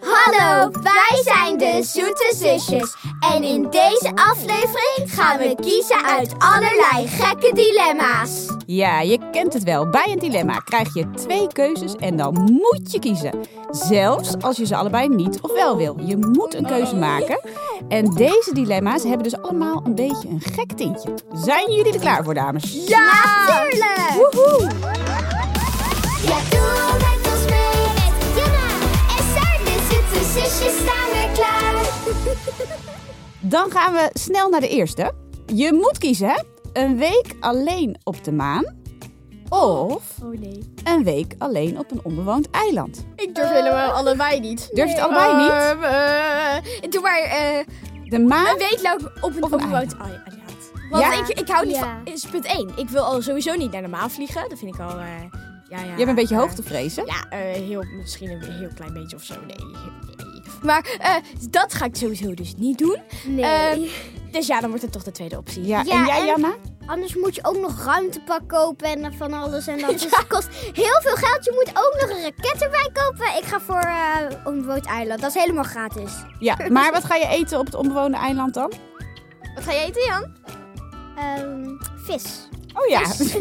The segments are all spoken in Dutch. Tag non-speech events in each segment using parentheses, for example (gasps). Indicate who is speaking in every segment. Speaker 1: Hallo, wij zijn de Zoete Zusjes. En in deze aflevering gaan we kiezen uit allerlei gekke dilemma's.
Speaker 2: Ja, je kent het wel. Bij een dilemma krijg je twee keuzes en dan moet je kiezen. Zelfs als je ze allebei niet of wel wil. Je moet een keuze maken. En deze dilemma's hebben dus allemaal een beetje een gek tintje. Zijn jullie er klaar voor, dames?
Speaker 1: Ja, natuurlijk!
Speaker 2: Woehoe!
Speaker 1: Ja, doe met ons mee met Jana en Saar. De Zoete Zusjes staan weer klaar.
Speaker 2: Dan gaan we snel naar de eerste. Je moet kiezen, hè? Een week alleen op de maan. Of
Speaker 3: Oh nee.
Speaker 2: een week alleen op een onbewoond eiland.
Speaker 3: Ik durf helemaal allebei niet.
Speaker 2: Eh, Durf je het allebei niet?
Speaker 3: Ehm, eh, doe maar eh,
Speaker 2: De maan...
Speaker 3: een week lang op een
Speaker 2: Of een
Speaker 3: onbewoond eiland. Want
Speaker 2: Ja.
Speaker 3: ik, ik hou niet
Speaker 1: Ja.
Speaker 3: van... is punt 1. Ik wil al sowieso niet naar de maan vliegen. Dat vind ik al... eh, ja, ja,
Speaker 2: Je hebt een beetje
Speaker 3: maar-
Speaker 2: hoogtevrees, hè?
Speaker 3: Ja, eh, heel, misschien een heel klein beetje of zo. Nee. nee. Maar eh, dat ga ik sowieso dus niet doen.
Speaker 1: Ehm,
Speaker 3: Ehm, dus ja, dan wordt het toch de tweede optie.
Speaker 2: Ja,
Speaker 1: Ja,
Speaker 2: en jij,
Speaker 1: en-
Speaker 2: Janna?
Speaker 1: Anders moet je ook nog ruimtepak kopen en van alles. En dat Dus het kost heel veel geld. Je moet ook nog een raket erbij kopen. Ik ga voor eh Onbewoond Eiland. Dat is helemaal gratis.
Speaker 2: Ja, maar wat ga je eten op het onbewoonde eiland dan?
Speaker 1: Wat ga je eten, Jan? Ehm, vis.
Speaker 2: Oh ja. (laughs)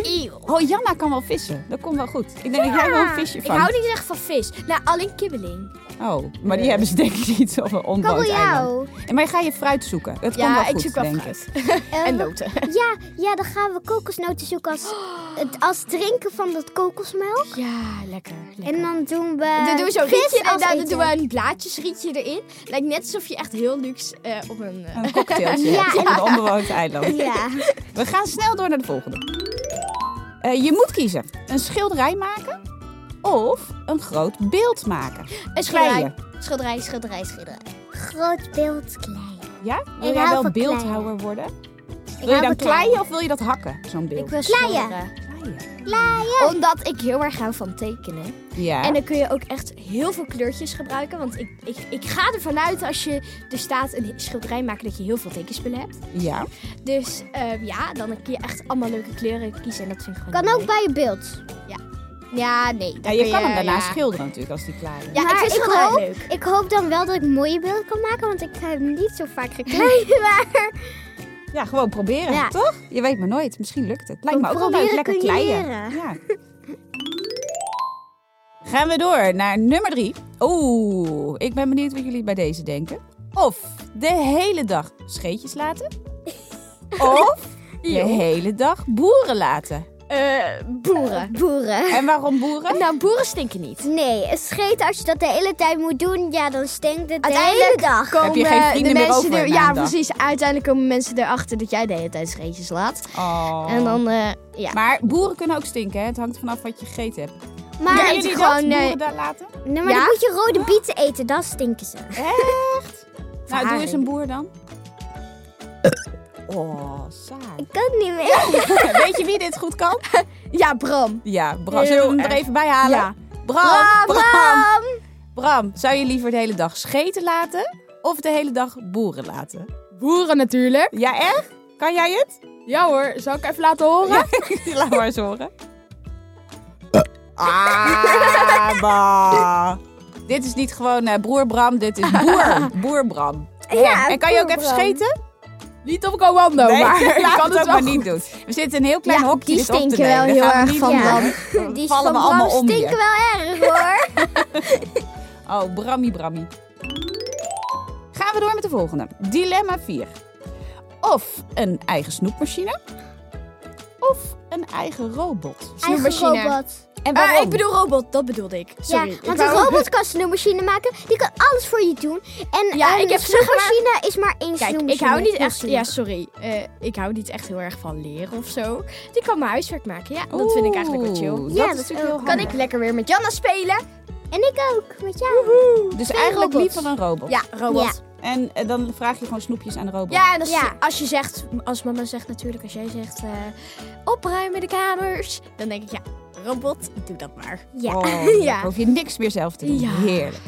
Speaker 2: Oh, Janna kan wel vissen. Dat komt wel goed. Ik denk dat jij wel een visje
Speaker 3: Ik
Speaker 2: vangt.
Speaker 3: hou niet echt van vis. Nou, alleen kibbeling.
Speaker 2: Oh, maar die hebben ze denk ik niet op een onbewoond eiland.
Speaker 1: Kabeljauw.
Speaker 2: En Maar ga je fruit zoeken? Dat komt wel goed, denk ik.
Speaker 1: Eh,
Speaker 3: En
Speaker 1: wat-
Speaker 3: noten.
Speaker 1: ja, ja, dan gaan we kokosnoten zoeken
Speaker 3: (gasps)
Speaker 1: als, het, als drinken van dat kokosmelk.
Speaker 3: Ja, lekker. lekker.
Speaker 1: En dan doen we.
Speaker 3: dan doen we zo'n
Speaker 1: vis
Speaker 3: rietje Eh, en
Speaker 1: als
Speaker 3: dan
Speaker 1: eten.
Speaker 3: doen we een blaadjesrietje erin. Lijkt net alsof je echt heel luxe eh, op een... eh,
Speaker 2: Een cocktailtje
Speaker 1: Ja,
Speaker 2: hebt op een onbewoond eiland.
Speaker 3: (laughs)
Speaker 1: Ja.
Speaker 2: We gaan snel door naar de volgende. Eh, je moet kiezen. Een schilderij maken of een groot beeld maken.
Speaker 3: een schilderij. Schilderij, schilderij, schilderij.
Speaker 1: Groot beeld klein.
Speaker 2: Ja? Wil
Speaker 1: Ik
Speaker 2: jij
Speaker 1: hou
Speaker 2: wel
Speaker 1: van
Speaker 2: beeldhouwer worden? Wil je
Speaker 1: hou
Speaker 2: dan
Speaker 1: van kleien.
Speaker 2: kleien of wil je dat hakken, zo'n beeld?
Speaker 3: Ik wil
Speaker 1: Kleien.
Speaker 3: schilderen.
Speaker 2: Kleien.
Speaker 3: Omdat ik heel erg hou van tekenen.
Speaker 2: Ja.
Speaker 3: En dan kun je ook echt heel veel kleurtjes gebruiken. Want ik, ik, ik ga ervan uit als je er staat een schilderij maken dat je heel veel tekenspullen hebt.
Speaker 2: ja.
Speaker 3: Dus eh, ja, dan kun je echt allemaal leuke kleuren kiezen. En dat vind ik gewoon
Speaker 1: Kan
Speaker 3: heel
Speaker 1: ook bij je beeld.
Speaker 3: leuk. Ja, nee.
Speaker 2: Ja,
Speaker 3: dan
Speaker 2: je kan hem daarna
Speaker 3: ja.
Speaker 2: schilderen natuurlijk als die klaar is.
Speaker 3: Ja,
Speaker 1: Maar
Speaker 3: ik vind
Speaker 1: ik
Speaker 3: schilderij
Speaker 1: hoop-
Speaker 3: leuk.
Speaker 1: Ik hoop dan wel dat ik mooie beelden kan maken, want ik heb niet zo vaak gekleed.
Speaker 3: (laughs)
Speaker 1: Maar
Speaker 2: Ja, gewoon proberen,
Speaker 1: Ja.
Speaker 2: toch? Je weet maar nooit. Misschien lukt het. Lijkt me ook wel leuk.
Speaker 1: Proberen
Speaker 2: Lekker
Speaker 1: kun je
Speaker 2: kleien.
Speaker 1: leren.
Speaker 2: Ja. Gaan we door naar nummer drie. Oeh, ik ben benieuwd wat jullie bij deze denken. Of de hele dag scheetjes laten. Of de hele dag boeren laten.
Speaker 3: Eh, boeren.
Speaker 1: boeren.
Speaker 2: En waarom boeren?
Speaker 3: Nou, boeren stinken niet.
Speaker 1: Nee, een scheet als je dat de hele tijd moet doen, ja, dan stinkt het de
Speaker 3: Uiteindelijk
Speaker 1: hele dag.
Speaker 3: Komen
Speaker 2: Heb je geen vrienden
Speaker 3: de
Speaker 2: meer
Speaker 3: mensen
Speaker 2: over
Speaker 3: er-
Speaker 2: na
Speaker 3: Ja,
Speaker 2: een dag?
Speaker 3: precies. Uiteindelijk komen mensen erachter dat jij de hele tijd scheetjes laat.
Speaker 2: Oh.
Speaker 3: En dan, eh, ja.
Speaker 2: Maar boeren kunnen ook stinken, hè? Het hangt vanaf wat je gegeten hebt.
Speaker 1: Maar,
Speaker 3: Ja,
Speaker 2: Kunnen
Speaker 3: het
Speaker 2: jullie
Speaker 3: gewoon,
Speaker 2: dat, boeren
Speaker 3: eh,
Speaker 2: daar laten?
Speaker 1: nee, maar
Speaker 3: Ja?
Speaker 1: dan moet je rode bieten eten, dan stinken ze.
Speaker 2: Echt? Nou, doe
Speaker 3: Verharing.
Speaker 2: eens een boer dan. Oh, saai. (laughs)
Speaker 1: Ik kan het niet meer.
Speaker 2: Weet je wie dit goed kan?
Speaker 3: Ja, Bram.
Speaker 2: Ja, Bram. Zullen we hem er
Speaker 3: erg.
Speaker 2: even bij halen?
Speaker 3: Ja.
Speaker 2: Bram, Bram. Bram, zou je liever de hele dag scheten laten of de hele dag boeren laten?
Speaker 3: Boeren natuurlijk.
Speaker 2: Ja, echt? Kan jij het? (laughs)
Speaker 3: Ja hoor, zal ik even laten horen?
Speaker 2: Laat maar eens horen. Ah, bah. Dit is niet gewoon eh, broer Bram, dit is boer, boer Bram.
Speaker 1: Ja,
Speaker 2: en kan je ook
Speaker 1: boer
Speaker 2: even
Speaker 1: Bram.
Speaker 2: scheten?
Speaker 3: Niet op commando,
Speaker 2: Nee,
Speaker 3: Nou, (laughs) maar ik
Speaker 2: (laughs) laat
Speaker 3: kan
Speaker 2: het
Speaker 3: het
Speaker 2: ook maar
Speaker 3: wel
Speaker 2: niet doen. We zitten in een heel klein
Speaker 3: Ja,
Speaker 2: hokje
Speaker 3: die
Speaker 2: dit op te
Speaker 3: stinken
Speaker 2: nemen.
Speaker 3: wel
Speaker 2: Dat
Speaker 3: heel
Speaker 2: gaan we
Speaker 3: erg
Speaker 2: niet
Speaker 3: van
Speaker 2: doen.
Speaker 3: Bram.
Speaker 2: Dan
Speaker 1: Die
Speaker 2: vallen we
Speaker 1: van
Speaker 2: allemaal
Speaker 1: Bram
Speaker 2: om
Speaker 1: stinken
Speaker 2: hier.
Speaker 1: wel
Speaker 3: (laughs)
Speaker 1: erg hoor.
Speaker 2: Oh, Brammy Brammy. Gaan we door met de volgende. Dilemma 4. Of een eigen snoepmachine. Of een eigen robot.
Speaker 3: Snoeimachine.
Speaker 1: Eigen robot.
Speaker 2: En
Speaker 3: Eh,
Speaker 2: waarom?
Speaker 3: ik bedoel robot, dat bedoelde ik. Sorry.
Speaker 1: ja,
Speaker 3: ik
Speaker 1: want
Speaker 3: wou-
Speaker 1: een robot kan snoeimachine maken. Die kan alles voor je doen. En
Speaker 3: Ja,
Speaker 1: een
Speaker 3: ik heb zeg
Speaker 1: snoeimachine is maar één
Speaker 3: Kijk, ik
Speaker 1: snoeimachine.
Speaker 3: hou niet echt...
Speaker 1: Snoeimachine.
Speaker 3: Ja, sorry. Eh, ik hou niet echt heel erg van leren of zo. Dus ik kan mijn huiswerk maken. Ja, dat vind ik eigenlijk wel
Speaker 2: Oeh,
Speaker 3: chill.
Speaker 2: Dat
Speaker 1: Ja,
Speaker 2: is
Speaker 1: dat
Speaker 2: natuurlijk heel
Speaker 1: ook.
Speaker 3: Kan
Speaker 2: handig.
Speaker 3: ik lekker weer met Janna spelen?
Speaker 1: En ik ook, met jou.
Speaker 2: Dus eigenlijk
Speaker 1: robots.
Speaker 2: liever een robot.
Speaker 3: Ja, robot.
Speaker 2: En eh, dan vraag je gewoon snoepjes aan de robot.
Speaker 3: Ja, en als,
Speaker 1: Ja.
Speaker 3: als je zegt, als mama zegt natuurlijk, als jij zegt eh, opruimen de kamers, dan denk ik ja, robot, doe dat maar.
Speaker 1: Ja.
Speaker 3: (laughs)
Speaker 2: Oh,
Speaker 3: Ja.
Speaker 2: Dan hoef je niks meer zelf te doen.
Speaker 3: Ja.
Speaker 2: Heerlijk.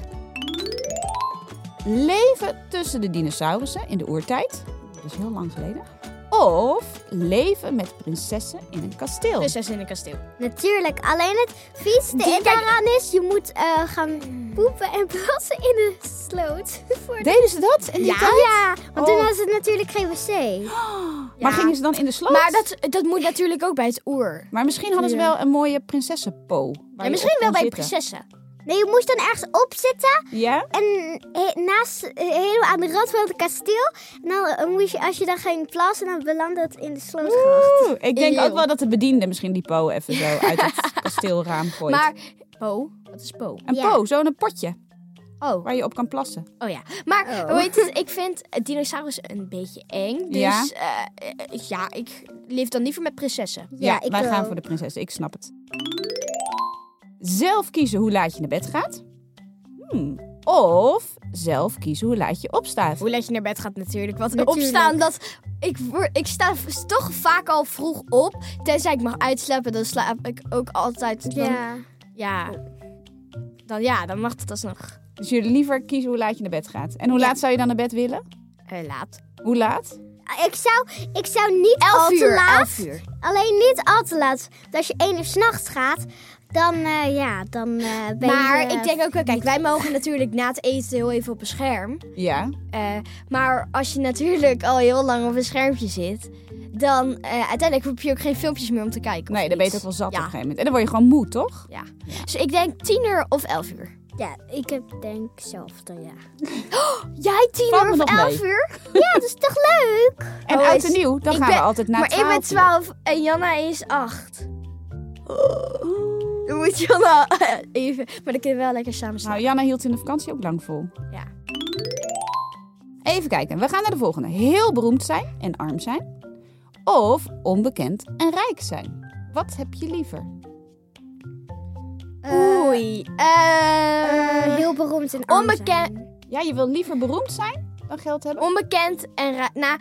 Speaker 2: Leven tussen de dinosaurussen in de oertijd. Dat is heel lang geleden. Of leven met prinsessen in een kasteel.
Speaker 3: Dus zij is in een kasteel.
Speaker 1: Natuurlijk. Alleen het vieste
Speaker 3: Die-
Speaker 1: en daaraan is, je moet eh, gaan poepen en (laughs) plassen in de sloot. Voor de...
Speaker 2: Deden ze dat in die
Speaker 1: Ja,
Speaker 2: tijd?
Speaker 1: ja, want toen
Speaker 2: Oh.
Speaker 1: was het natuurlijk geen wc.
Speaker 2: Maar gingen ze dan in de sloot?
Speaker 3: Maar dat, dat moet natuurlijk ook bij het oer.
Speaker 2: Maar misschien hadden ze
Speaker 3: Ja.
Speaker 2: wel een mooie prinsessenpo. waar
Speaker 3: En
Speaker 2: je
Speaker 3: misschien
Speaker 2: op
Speaker 3: wel
Speaker 2: kon
Speaker 3: bij
Speaker 2: zitten.
Speaker 3: prinsessen.
Speaker 1: Nee, je moest dan ergens op zitten
Speaker 2: Ja?
Speaker 1: en he- naast, eh, helemaal aan de rand van het kasteel. En dan eh, moest je, als je dan ging plassen, dan belandde het in de slootgracht.
Speaker 2: Oeh, ik denk
Speaker 3: Eeuw.
Speaker 2: ook wel dat de bediende misschien die po even zo uit
Speaker 3: (laughs)
Speaker 2: het kasteelraam gooit.
Speaker 3: Maar Po, wat is Po?
Speaker 2: een
Speaker 1: Ja.
Speaker 2: po, zo'n potje
Speaker 3: Oh,
Speaker 2: waar je op kan plassen.
Speaker 3: oh ja. Maar
Speaker 1: Oh.
Speaker 3: hoe heet het? ik vind eh, dinosaurus een beetje eng. Dus
Speaker 2: Ja.
Speaker 3: ja, ja ik leef dan liever met prinsessen.
Speaker 1: Ja, ik
Speaker 2: wij
Speaker 1: wel.
Speaker 3: eh,
Speaker 2: gaan voor de prinses. Ik snap het. Zelf kiezen hoe laat je naar bed gaat. Hmm. Of zelf kiezen hoe laat je opstaat.
Speaker 3: Hoe laat je naar bed gaat natuurlijk. Want
Speaker 1: Natuurlijk.
Speaker 3: opstaan, dat... Ik, word, ik sta v- toch vaak al vroeg op. Tenzij ik mag uitslapen, dan slaap ik ook altijd. Dan,
Speaker 1: Ja.
Speaker 3: ja. Dan ja, dan mag het alsnog
Speaker 2: Dus jullie liever kiezen hoe laat je naar bed gaat. En hoe laat zou je dan naar bed willen?
Speaker 3: eh, laat.
Speaker 2: Hoe laat?
Speaker 1: Ah, Ik zou, ik zou niet al
Speaker 3: Elf
Speaker 1: te
Speaker 3: uur,
Speaker 1: laat.
Speaker 3: elf uur.
Speaker 1: Alleen niet al te laat. Want als je één uur s'nachts gaat, dan, eh, ja, dan eh, ben
Speaker 3: Maar
Speaker 1: je...
Speaker 3: ik denk ook wel, kijk, wij mogen natuurlijk na het eten heel even op een scherm.
Speaker 2: Ja.
Speaker 3: Eh, maar als je natuurlijk al heel lang op een schermpje zit, dan eh, uiteindelijk heb je ook geen filmpjes meer om te kijken. of
Speaker 2: Nee, dan ben je
Speaker 3: iets.
Speaker 2: toch wel zat op een
Speaker 3: Ja.
Speaker 2: gegeven moment. En dan word je gewoon moe, toch?
Speaker 3: Ja. Dus ik denk tien uur of elf uur.
Speaker 1: Ja, ik heb, denk zelf dan ja.
Speaker 3: Jij tien
Speaker 2: Valt me
Speaker 3: uur of
Speaker 2: nog mee.
Speaker 3: elf uur?
Speaker 1: Ja, dat is toch leuk?
Speaker 2: En
Speaker 3: Oh,
Speaker 2: oud
Speaker 3: is-
Speaker 2: en nieuw, dan
Speaker 3: ik
Speaker 2: gaan we
Speaker 3: ben-
Speaker 2: altijd naar
Speaker 3: maar ik ben
Speaker 2: 12
Speaker 3: twaalf en Janna is acht.
Speaker 2: Oh.
Speaker 3: Dan moet Janna (laughs) even... Maar dan kunnen we wel lekker samen
Speaker 2: uur.
Speaker 3: slapen.
Speaker 2: Nou, Janna hield in de vakantie ook lang vol.
Speaker 3: Ja.
Speaker 2: Even kijken, we gaan naar de volgende. Heel beroemd zijn en arm zijn. Of onbekend en rijk zijn. Wat heb je liever?
Speaker 3: Oei. Eh,
Speaker 1: Eh, heel beroemd en arm
Speaker 3: onbekend-
Speaker 1: zijn.
Speaker 2: Ja, je wil liever beroemd zijn dan geld hebben?
Speaker 3: onbekend en... ra- Nou,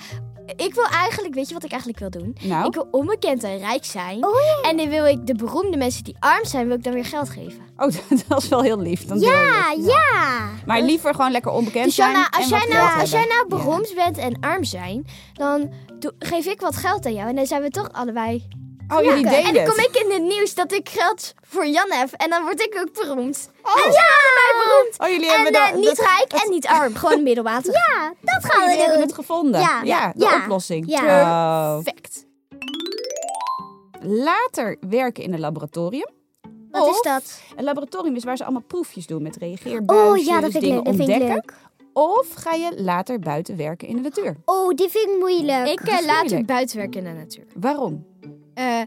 Speaker 3: ik wil eigenlijk... Weet je wat ik eigenlijk wil doen?
Speaker 2: Nou,
Speaker 3: Ik wil onbekend en rijk zijn.
Speaker 1: Oh,
Speaker 3: En dan wil ik de beroemde mensen die arm zijn, wil ik dan weer geld geven.
Speaker 2: oh, (laughs) dat is wel heel lief. Dan deel je
Speaker 1: Ja,
Speaker 2: het.
Speaker 1: ja.
Speaker 2: Maar liever gewoon lekker onbekend
Speaker 3: Dus
Speaker 2: zijn
Speaker 3: Janna, eh, als,
Speaker 2: en wat
Speaker 3: jij
Speaker 2: geld
Speaker 3: nou, als jij
Speaker 2: hebben.
Speaker 3: nou beroemd bent en arm zijn, dan doe- geef ik wat geld aan jou. En dan zijn we toch allebei...
Speaker 2: Ja. Oh, jullie
Speaker 3: Ja,
Speaker 2: delen
Speaker 3: En dan
Speaker 2: het.
Speaker 3: kom ik in het nieuws dat ik geld voor Jan heb. En dan word ik ook beroemd.
Speaker 2: Oh.
Speaker 3: En ja! allebei beroemd.
Speaker 2: Oh, jullie
Speaker 3: En
Speaker 2: hebben
Speaker 3: eh,
Speaker 2: dat-
Speaker 3: niet
Speaker 2: dat-
Speaker 3: rijk en niet arm. Gewoon
Speaker 2: (laughs)
Speaker 3: middelmatig.
Speaker 1: Ja, Oh, dat gaan
Speaker 2: jullie
Speaker 1: we
Speaker 2: hebben
Speaker 1: doen.
Speaker 2: het gevonden.
Speaker 1: Ja.
Speaker 2: de
Speaker 1: Ja.
Speaker 2: oplossing.
Speaker 1: Ja.
Speaker 2: Oh.
Speaker 3: Perfect.
Speaker 2: Later werken in een laboratorium.
Speaker 1: Wat is
Speaker 2: Of-
Speaker 1: dat?
Speaker 2: Een laboratorium is waar ze allemaal proefjes doen met reageerbuisjes,
Speaker 1: Oh ja,
Speaker 3: eh,
Speaker 1: dat vind ik
Speaker 2: dingen
Speaker 1: leuk. Dat vind ik
Speaker 2: ontdekken.
Speaker 1: leuk.
Speaker 2: Of ga je later buiten werken in de natuur?
Speaker 1: Oh, die vind ik moeilijk.
Speaker 3: Ik
Speaker 2: Dat
Speaker 3: eh
Speaker 2: is
Speaker 3: laat
Speaker 2: moeilijk.
Speaker 3: het buitenwerken in de natuur.
Speaker 2: Waarom?
Speaker 3: Eh,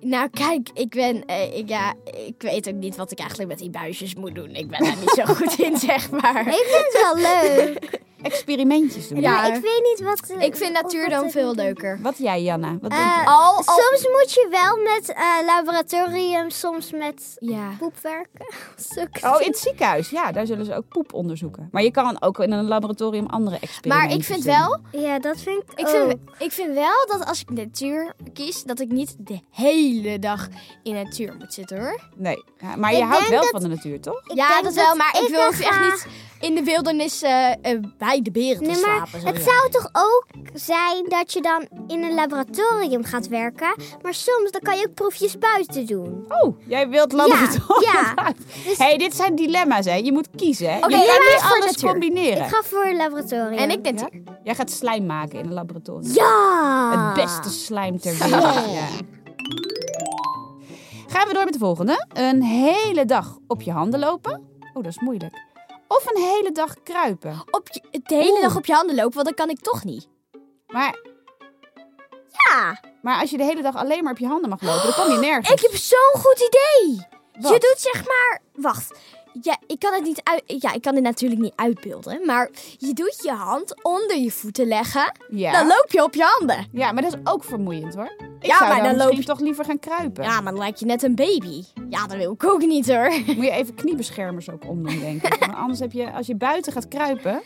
Speaker 3: nou, kijk, ik ben. eh, ik, ja, ik weet ook niet wat ik eigenlijk met die buisjes moet doen. Ik ben daar niet
Speaker 2: (laughs)
Speaker 3: zo goed in, zeg maar.
Speaker 1: (laughs) Ik vind het wel leuk.
Speaker 2: Experimentjes doen.
Speaker 3: (laughs) Ja.
Speaker 1: Maar ik weet niet wat... eh,
Speaker 3: Ik vind
Speaker 2: oh,
Speaker 3: natuur
Speaker 1: of
Speaker 3: dan
Speaker 1: wat-
Speaker 3: veel leuker.
Speaker 2: Wat jij, Janna? Wat denk
Speaker 1: Eh,
Speaker 2: je?
Speaker 3: Al, al.
Speaker 1: Soms moet je wel met eh, laboratorium, soms met
Speaker 3: Ja.
Speaker 1: poep werken. Zo
Speaker 2: Oh, in het ziekenhuis. Ja, daar zullen ze ook poep onderzoeken. Maar je kan ook in een laboratorium andere experimenten
Speaker 3: Maar ik vind wel.
Speaker 1: Ja, dat vind ik,
Speaker 3: Ik
Speaker 1: ook.
Speaker 3: vind, ik vind wel dat als ik natuur kies, dat ik niet de hele dag in natuur moet zitten hoor.
Speaker 2: Nee, ja, maar
Speaker 1: Ik
Speaker 2: je houdt
Speaker 1: denk
Speaker 2: wel
Speaker 1: dat-
Speaker 2: van de natuur, toch?
Speaker 1: Ik
Speaker 3: ja,
Speaker 1: denk
Speaker 3: dat wel, maar ik, wil
Speaker 1: er
Speaker 3: hoef echt
Speaker 1: ga-
Speaker 3: niet in de wildernis eh, eh, bij de beren te
Speaker 1: Nee, maar
Speaker 3: slapen. zo,
Speaker 1: het
Speaker 3: ja.
Speaker 1: zou toch ook zijn dat je dan in een laboratorium gaat werken. Maar soms dan kan je ook proefjes buiten doen.
Speaker 2: Oh, jij wilt laboratorium.
Speaker 1: ja.
Speaker 2: Hé, hey, dit zijn dilemma's, hè? Je moet kiezen, hè?
Speaker 3: Dus- Oké,
Speaker 2: je
Speaker 3: jij
Speaker 2: kan
Speaker 3: kiest
Speaker 2: niet
Speaker 3: voor
Speaker 2: alles
Speaker 3: natuur.
Speaker 2: combineren.
Speaker 1: Ik ga voor laboratorium.
Speaker 3: En ik denk.
Speaker 2: Ja? Jij gaat slijm maken in een laboratorium.
Speaker 1: Ja!
Speaker 2: Het beste slijm ter wereld. Ja. Gaan we door met de volgende. Een hele dag op je handen lopen. Oh, dat is moeilijk. Of een hele dag kruipen.
Speaker 3: Op je, de hele
Speaker 2: Oeh.
Speaker 3: dag op je handen lopen, want dat kan ik toch niet.
Speaker 2: Maar,
Speaker 1: Ja!
Speaker 2: maar als je de hele dag alleen maar op je handen mag lopen, dan kom je nergens.
Speaker 3: (gasps) Ik heb zo'n goed idee.
Speaker 2: Wat?
Speaker 3: Je doet zeg maar. Wacht. Ja, ik kan het niet uit. Ja, ik kan het natuurlijk niet uitbeelden. Maar je doet je hand onder je voeten leggen.
Speaker 2: Ja.
Speaker 3: Dan loop je op je handen.
Speaker 2: ja, maar dat is ook vermoeiend hoor. Ik
Speaker 3: Ja,
Speaker 2: zou
Speaker 3: maar
Speaker 2: dan,
Speaker 3: dan loop
Speaker 2: misschien
Speaker 3: je-
Speaker 2: toch liever gaan kruipen.
Speaker 3: Ja, maar dan lijk je net een baby. Ja, dat wil ik ook niet hoor.
Speaker 2: Moet je even kniebeschermers ook omdoen, denk
Speaker 1: (laughs)
Speaker 2: ik. Want anders heb je, als je buiten gaat kruipen,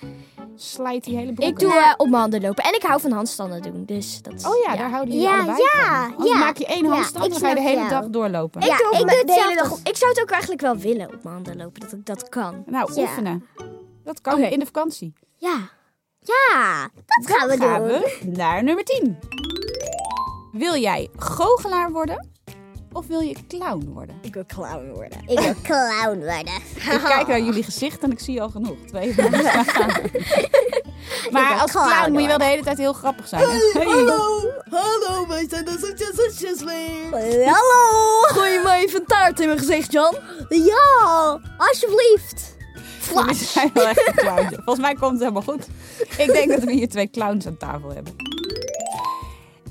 Speaker 2: slijt die hele broek
Speaker 3: Ik doe
Speaker 2: uit.
Speaker 3: eh, op mijn handen lopen. En ik hou van handstanden doen. Dus dat is.
Speaker 2: Oh ja, daar houden jullie
Speaker 1: Ja,
Speaker 2: allebei
Speaker 1: ja,
Speaker 2: van. Anders
Speaker 1: ja.
Speaker 2: maak je één
Speaker 1: Ja,
Speaker 2: handstand,
Speaker 1: ik
Speaker 2: dan ga je de
Speaker 1: snap
Speaker 2: hele
Speaker 1: jou.
Speaker 2: dag doorlopen.
Speaker 1: Ja,
Speaker 3: ook
Speaker 1: ik
Speaker 3: wel-
Speaker 1: doe het
Speaker 3: de hele
Speaker 1: zelf
Speaker 3: dag-
Speaker 1: toch-
Speaker 3: Ik zou het ook eigenlijk wel willen op mijn handen lopen. Dat ik dat kan.
Speaker 2: Nou,
Speaker 1: Ja.
Speaker 2: oefenen. Dat kan
Speaker 3: Oké.
Speaker 2: in de vakantie.
Speaker 1: Ja! Ja! Dat gaan we
Speaker 2: Dan gaan
Speaker 1: doen.
Speaker 2: we naar nummer 10. Wil jij goochelaar worden of wil je clown worden?
Speaker 3: Ik wil clown worden.
Speaker 1: Ik wil clown worden.
Speaker 2: Ik kijk naar jullie gezicht en ik zie al genoeg. Twee (laughs)
Speaker 1: (laughs)
Speaker 2: van jullie staan aan. Maar als
Speaker 1: clown
Speaker 2: clown moet je wel
Speaker 1: worden.
Speaker 2: de hele tijd heel
Speaker 1: (laughs)
Speaker 2: grappig zijn. Hey.
Speaker 3: hallo, wij zijn de succesjes weer.
Speaker 1: Hallo!
Speaker 3: Oh, Gooi je mij even taart in mijn gezicht, Jan?
Speaker 1: Ja, alsjeblieft.
Speaker 2: Jullie zijn wel echt een clown. Volgens mij komt het helemaal goed. Ik denk dat we hier twee clowns aan tafel hebben.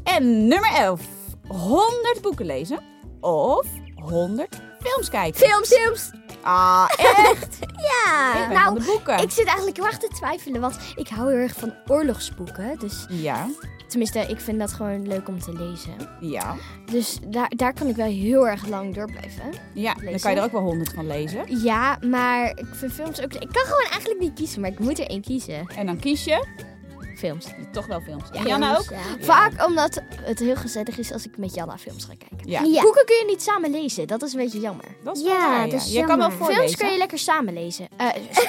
Speaker 2: En nummer 11. 100 boeken lezen of 100 films kijken.
Speaker 3: (laughs) Films, films.
Speaker 2: Ah, echt?
Speaker 1: Ja.
Speaker 2: Ik ben
Speaker 3: nou,
Speaker 2: van de boeken.
Speaker 3: Ik zit eigenlijk heel erg te twijfelen, want ik hou heel erg van oorlogsboeken. Dus
Speaker 2: Ja,
Speaker 3: tenminste, ik vind dat gewoon leuk om te lezen.
Speaker 2: ja.
Speaker 3: Dus daar, daar kan ik wel heel erg lang door blijven.
Speaker 2: Ja, dan kan je
Speaker 3: Lezen.
Speaker 2: er ook wel 100 van lezen.
Speaker 3: Ja, maar ik vind films ook... Ik kan gewoon eigenlijk niet kiezen, maar ik moet er één kiezen.
Speaker 2: En dan kies je
Speaker 3: Films.
Speaker 2: toch wel films. En Janna ook?
Speaker 1: Ja.
Speaker 3: Vaak omdat het heel gezellig is als ik met Janna films ga kijken.
Speaker 2: Ja,
Speaker 1: Ja.
Speaker 3: Boeken kun je niet samen lezen, dat is een beetje jammer.
Speaker 2: dat is
Speaker 1: Ja,
Speaker 2: wel waar,
Speaker 1: dat is
Speaker 2: Je kan wel
Speaker 1: jammer.
Speaker 2: voorlezen.
Speaker 3: Films kun je lekker samen lezen. Eh,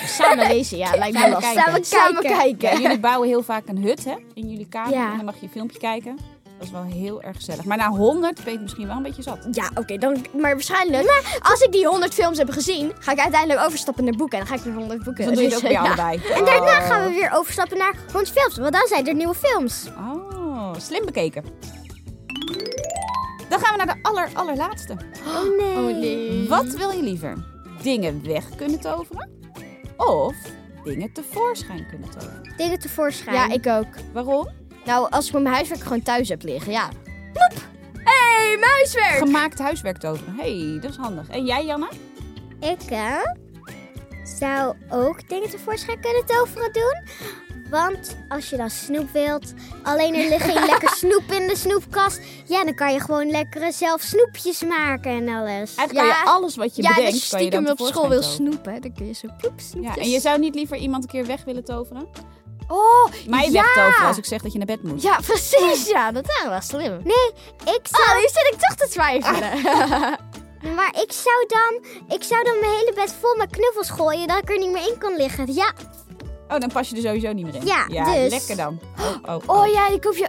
Speaker 3: (laughs) samen lezen, ja, lijkt me lastig.
Speaker 1: Samen
Speaker 3: Samen
Speaker 1: kijken.
Speaker 3: (laughs)
Speaker 2: Ja,
Speaker 3: kijken.
Speaker 2: jullie bouwen heel vaak een hut hè, in jullie kamer.
Speaker 3: Ja.
Speaker 2: En dan mag je een filmpje kijken. Dat is wel heel erg gezellig. Maar na 100 ben je het misschien wel een beetje zat.
Speaker 3: Ja, oké, dan, maar waarschijnlijk, als ik die 100 films heb gezien, ga ik uiteindelijk overstappen naar boeken. En dan ga ik weer 100 boeken
Speaker 2: Dus dan doe je het ook
Speaker 3: lezen.
Speaker 2: bij
Speaker 3: Ja.
Speaker 2: allebei. Oh.
Speaker 1: En daarna gaan we weer overstappen naar 100 films, want dan zijn er nieuwe films.
Speaker 2: Oh, slim bekeken. Dan gaan we naar de aller, allerlaatste.
Speaker 1: Oh nee.
Speaker 3: Oh nee.
Speaker 2: Wat wil je liever? Dingen weg kunnen toveren? Of dingen tevoorschijn kunnen toveren?
Speaker 1: Dingen tevoorschijn.
Speaker 3: Ja, ik ook.
Speaker 2: Waarom?
Speaker 3: Nou, als ik mijn huiswerk gewoon thuis heb liggen, ja. Plop! hey, muiswerk!
Speaker 2: Gemaakt huiswerk toveren. hey, dat is handig. En jij, Janna?
Speaker 1: Ik hè, zou ook dingen tevoorschijn kunnen toveren doen. Want als je dan snoep wilt, alleen er ligt geen lekker snoep in de snoepkast. Ja, dan kan je gewoon lekkere zelf snoepjes maken en alles.
Speaker 2: Eigenlijk kan je
Speaker 3: Ja.
Speaker 2: alles wat je
Speaker 3: ja, en
Speaker 2: bedenkt,
Speaker 3: als je
Speaker 2: kan je dan
Speaker 3: stiekem op school
Speaker 2: tevoorschijn
Speaker 3: wil
Speaker 2: toveren.
Speaker 3: snoepen, dan kun je zo ploep
Speaker 2: Ja,
Speaker 3: snoepjes.
Speaker 2: en je zou niet liever iemand een keer weg willen toveren?
Speaker 3: Oh,
Speaker 2: Mij
Speaker 3: ja!
Speaker 2: weg toveren als ik zeg dat je naar bed moet.
Speaker 3: Ja, precies, ja. Dat is wel slim. Ah,
Speaker 1: Ik zou,
Speaker 3: nu zit ik toch te twijfelen.
Speaker 1: Maar ik zou, dan, ik zou dan mijn hele bed vol met knuffels gooien, dat ik er niet meer in kan liggen. Ja,
Speaker 2: Oh, dan pas je er sowieso niet meer in.
Speaker 1: Ja, dus-
Speaker 2: lekker dan. Oh, oh, oh.
Speaker 3: Oh ja, ik hoef je...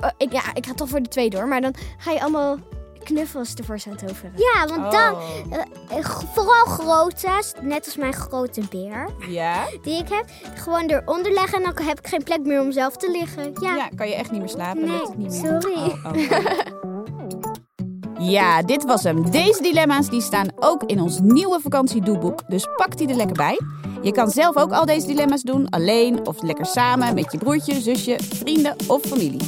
Speaker 3: Oh, ik, ja, ik ga toch voor de tweede hoor. Maar dan ga je allemaal knuffels tevoorschijn toveren.
Speaker 1: ja want dan...
Speaker 2: Oh.
Speaker 1: eh, g- Vooral grote, net als mijn grote beer
Speaker 2: Ja?
Speaker 1: die ik heb. Gewoon eronder leggen en dan heb ik geen plek meer om zelf te liggen. Ja.
Speaker 2: ja? kan je echt niet meer slapen?
Speaker 1: Nee,
Speaker 2: lukt het niet meer?
Speaker 1: sorry.
Speaker 2: Oh, oh, oh. Ja, dit was hem. Deze dilemma's die staan ook in ons nieuwe vakantiedoeboek. Dus pak die er lekker bij. Je kan zelf ook al deze dilemma's doen. Alleen of lekker samen met je broertje, zusje, vrienden of familie.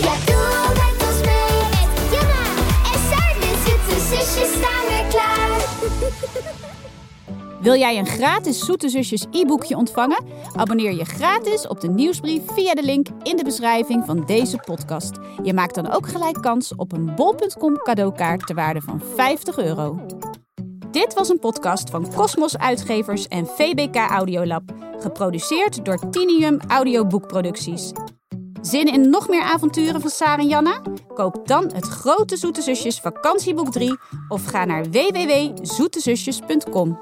Speaker 4: Ja, doe met ons mee met Jana en Saar, de zoete zusjes staan weer klaar. (laughs)
Speaker 2: Wil jij een gratis Zoete Zusjes e-boekje ontvangen? Abonneer je gratis op de nieuwsbrief via de link in de beschrijving van deze podcast. Je maakt dan ook gelijk kans op een bol.com cadeaukaart ter waarde van 50 euro. Dit was een podcast van Cosmos Uitgevers en VBK Audiolab, geproduceerd door Tinium Audioboekproducties. Zin in nog meer avonturen van Saar en Janna? Koop dan het Grote Zoete Zusjes Vakantieboek 3 of ga naar www.zoetezusjes.com.